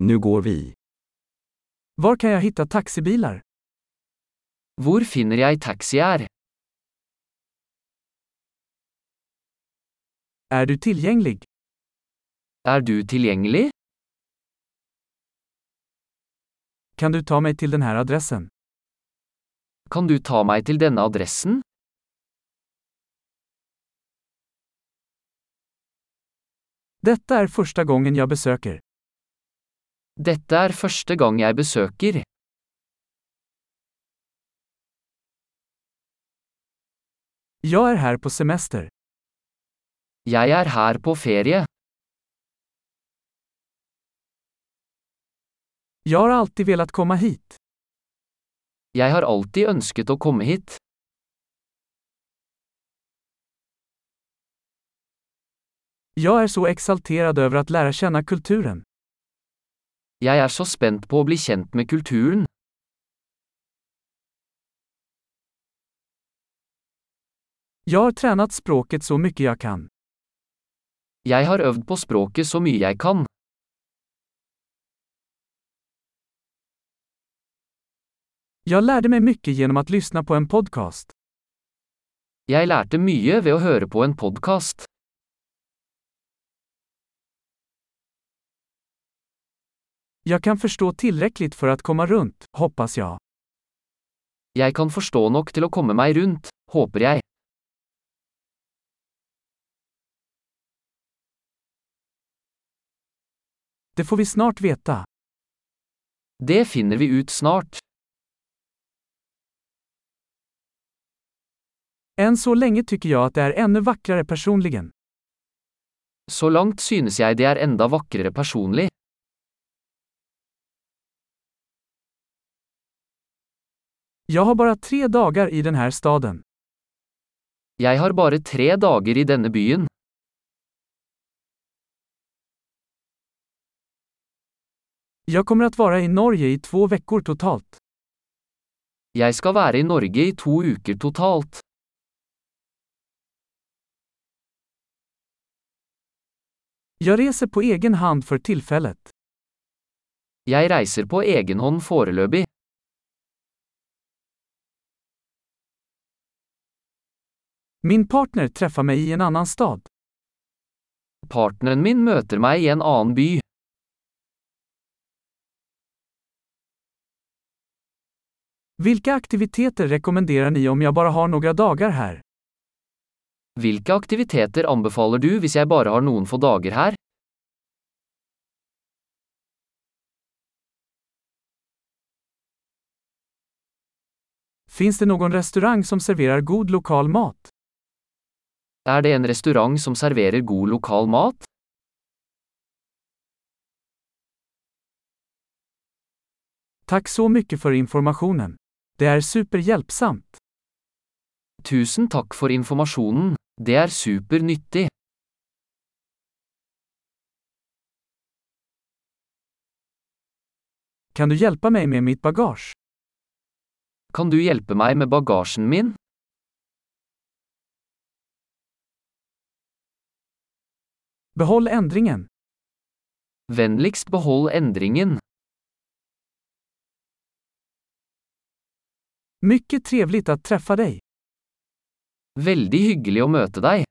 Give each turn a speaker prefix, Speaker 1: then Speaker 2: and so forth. Speaker 1: Nu går vi.
Speaker 2: Var kan jag hitta taxibilar?
Speaker 3: Hvor finner jeg taxier?
Speaker 2: Är du tillgänglig?
Speaker 3: Er du tilgjengelig?
Speaker 2: Kan du ta mig till den här adressen?
Speaker 3: Kan du ta meg til denne adressen?
Speaker 2: Detta är första gången jag besöker.
Speaker 3: Dette er første gang jeg besøker.
Speaker 2: Jag är här på semester.
Speaker 3: Jeg er her på ferie.
Speaker 2: Jag har alltid velat komma hit.
Speaker 3: Jeg har alltid ønsket å komme hit.
Speaker 2: Jag är så exalterad över att lära känna kulturen.
Speaker 3: Jeg er så spent på å bli kjent med kulturen.
Speaker 2: Jag har tränat språket så mycket jag kan.
Speaker 3: Jeg har øvd på språket så mye jeg kan.
Speaker 2: Jag lärde mig mycket genom att lyssna på en podcast.
Speaker 3: Jeg lærte mye ved å høre på en podkast.
Speaker 2: Jag kan förstå tillräckligt för att komma runt, hoppas jag.
Speaker 3: Jeg kan forstå nok til å komme meg rundt, håper jeg.
Speaker 2: Det får vi snart veta.
Speaker 3: Det finner vi ut snart.
Speaker 2: Än så länge tycker jag att det är ännu vackrare personligen.
Speaker 3: Så langt synes jeg det er enda vakrere personlig.
Speaker 2: Jag har bara tre dagar i den här staden.
Speaker 3: Jeg har bare tre dager i denne byen.
Speaker 2: Jag kommer att vara i Norge i två veckor totalt.
Speaker 3: Jeg skal være i Norge i to uker totalt.
Speaker 2: Jag reser på egen hand för tillfället.
Speaker 3: Jeg reiser på egen hånd foreløpig.
Speaker 2: Min partner träffar mig i en annan stad.
Speaker 3: Partneren min møter meg i en annen by.
Speaker 2: Vilka aktiviteter rekommenderar ni om jag bara har några dagar här?
Speaker 3: Hvilke aktiviteter anbefaler du hvis jeg bare har noen få dager her?
Speaker 2: Finns det någon restaurang som serverar god lokal mat?
Speaker 3: Er det en restaurant som serverer god lokal mat?
Speaker 2: Tack så mycket för informationen. Det är superhjälpsamt.
Speaker 3: Tusen takk for informasjonen. Det er supernyttig.
Speaker 2: Kan du hjälpa mig med mitt bagage?
Speaker 3: Kan du hjelpe meg med bagasjen min?
Speaker 2: Behåll ändringen.
Speaker 3: Vennligst behold endringen.
Speaker 2: Mycket trevligt att träffa dig.
Speaker 3: Veldig hyggelig å møte deg.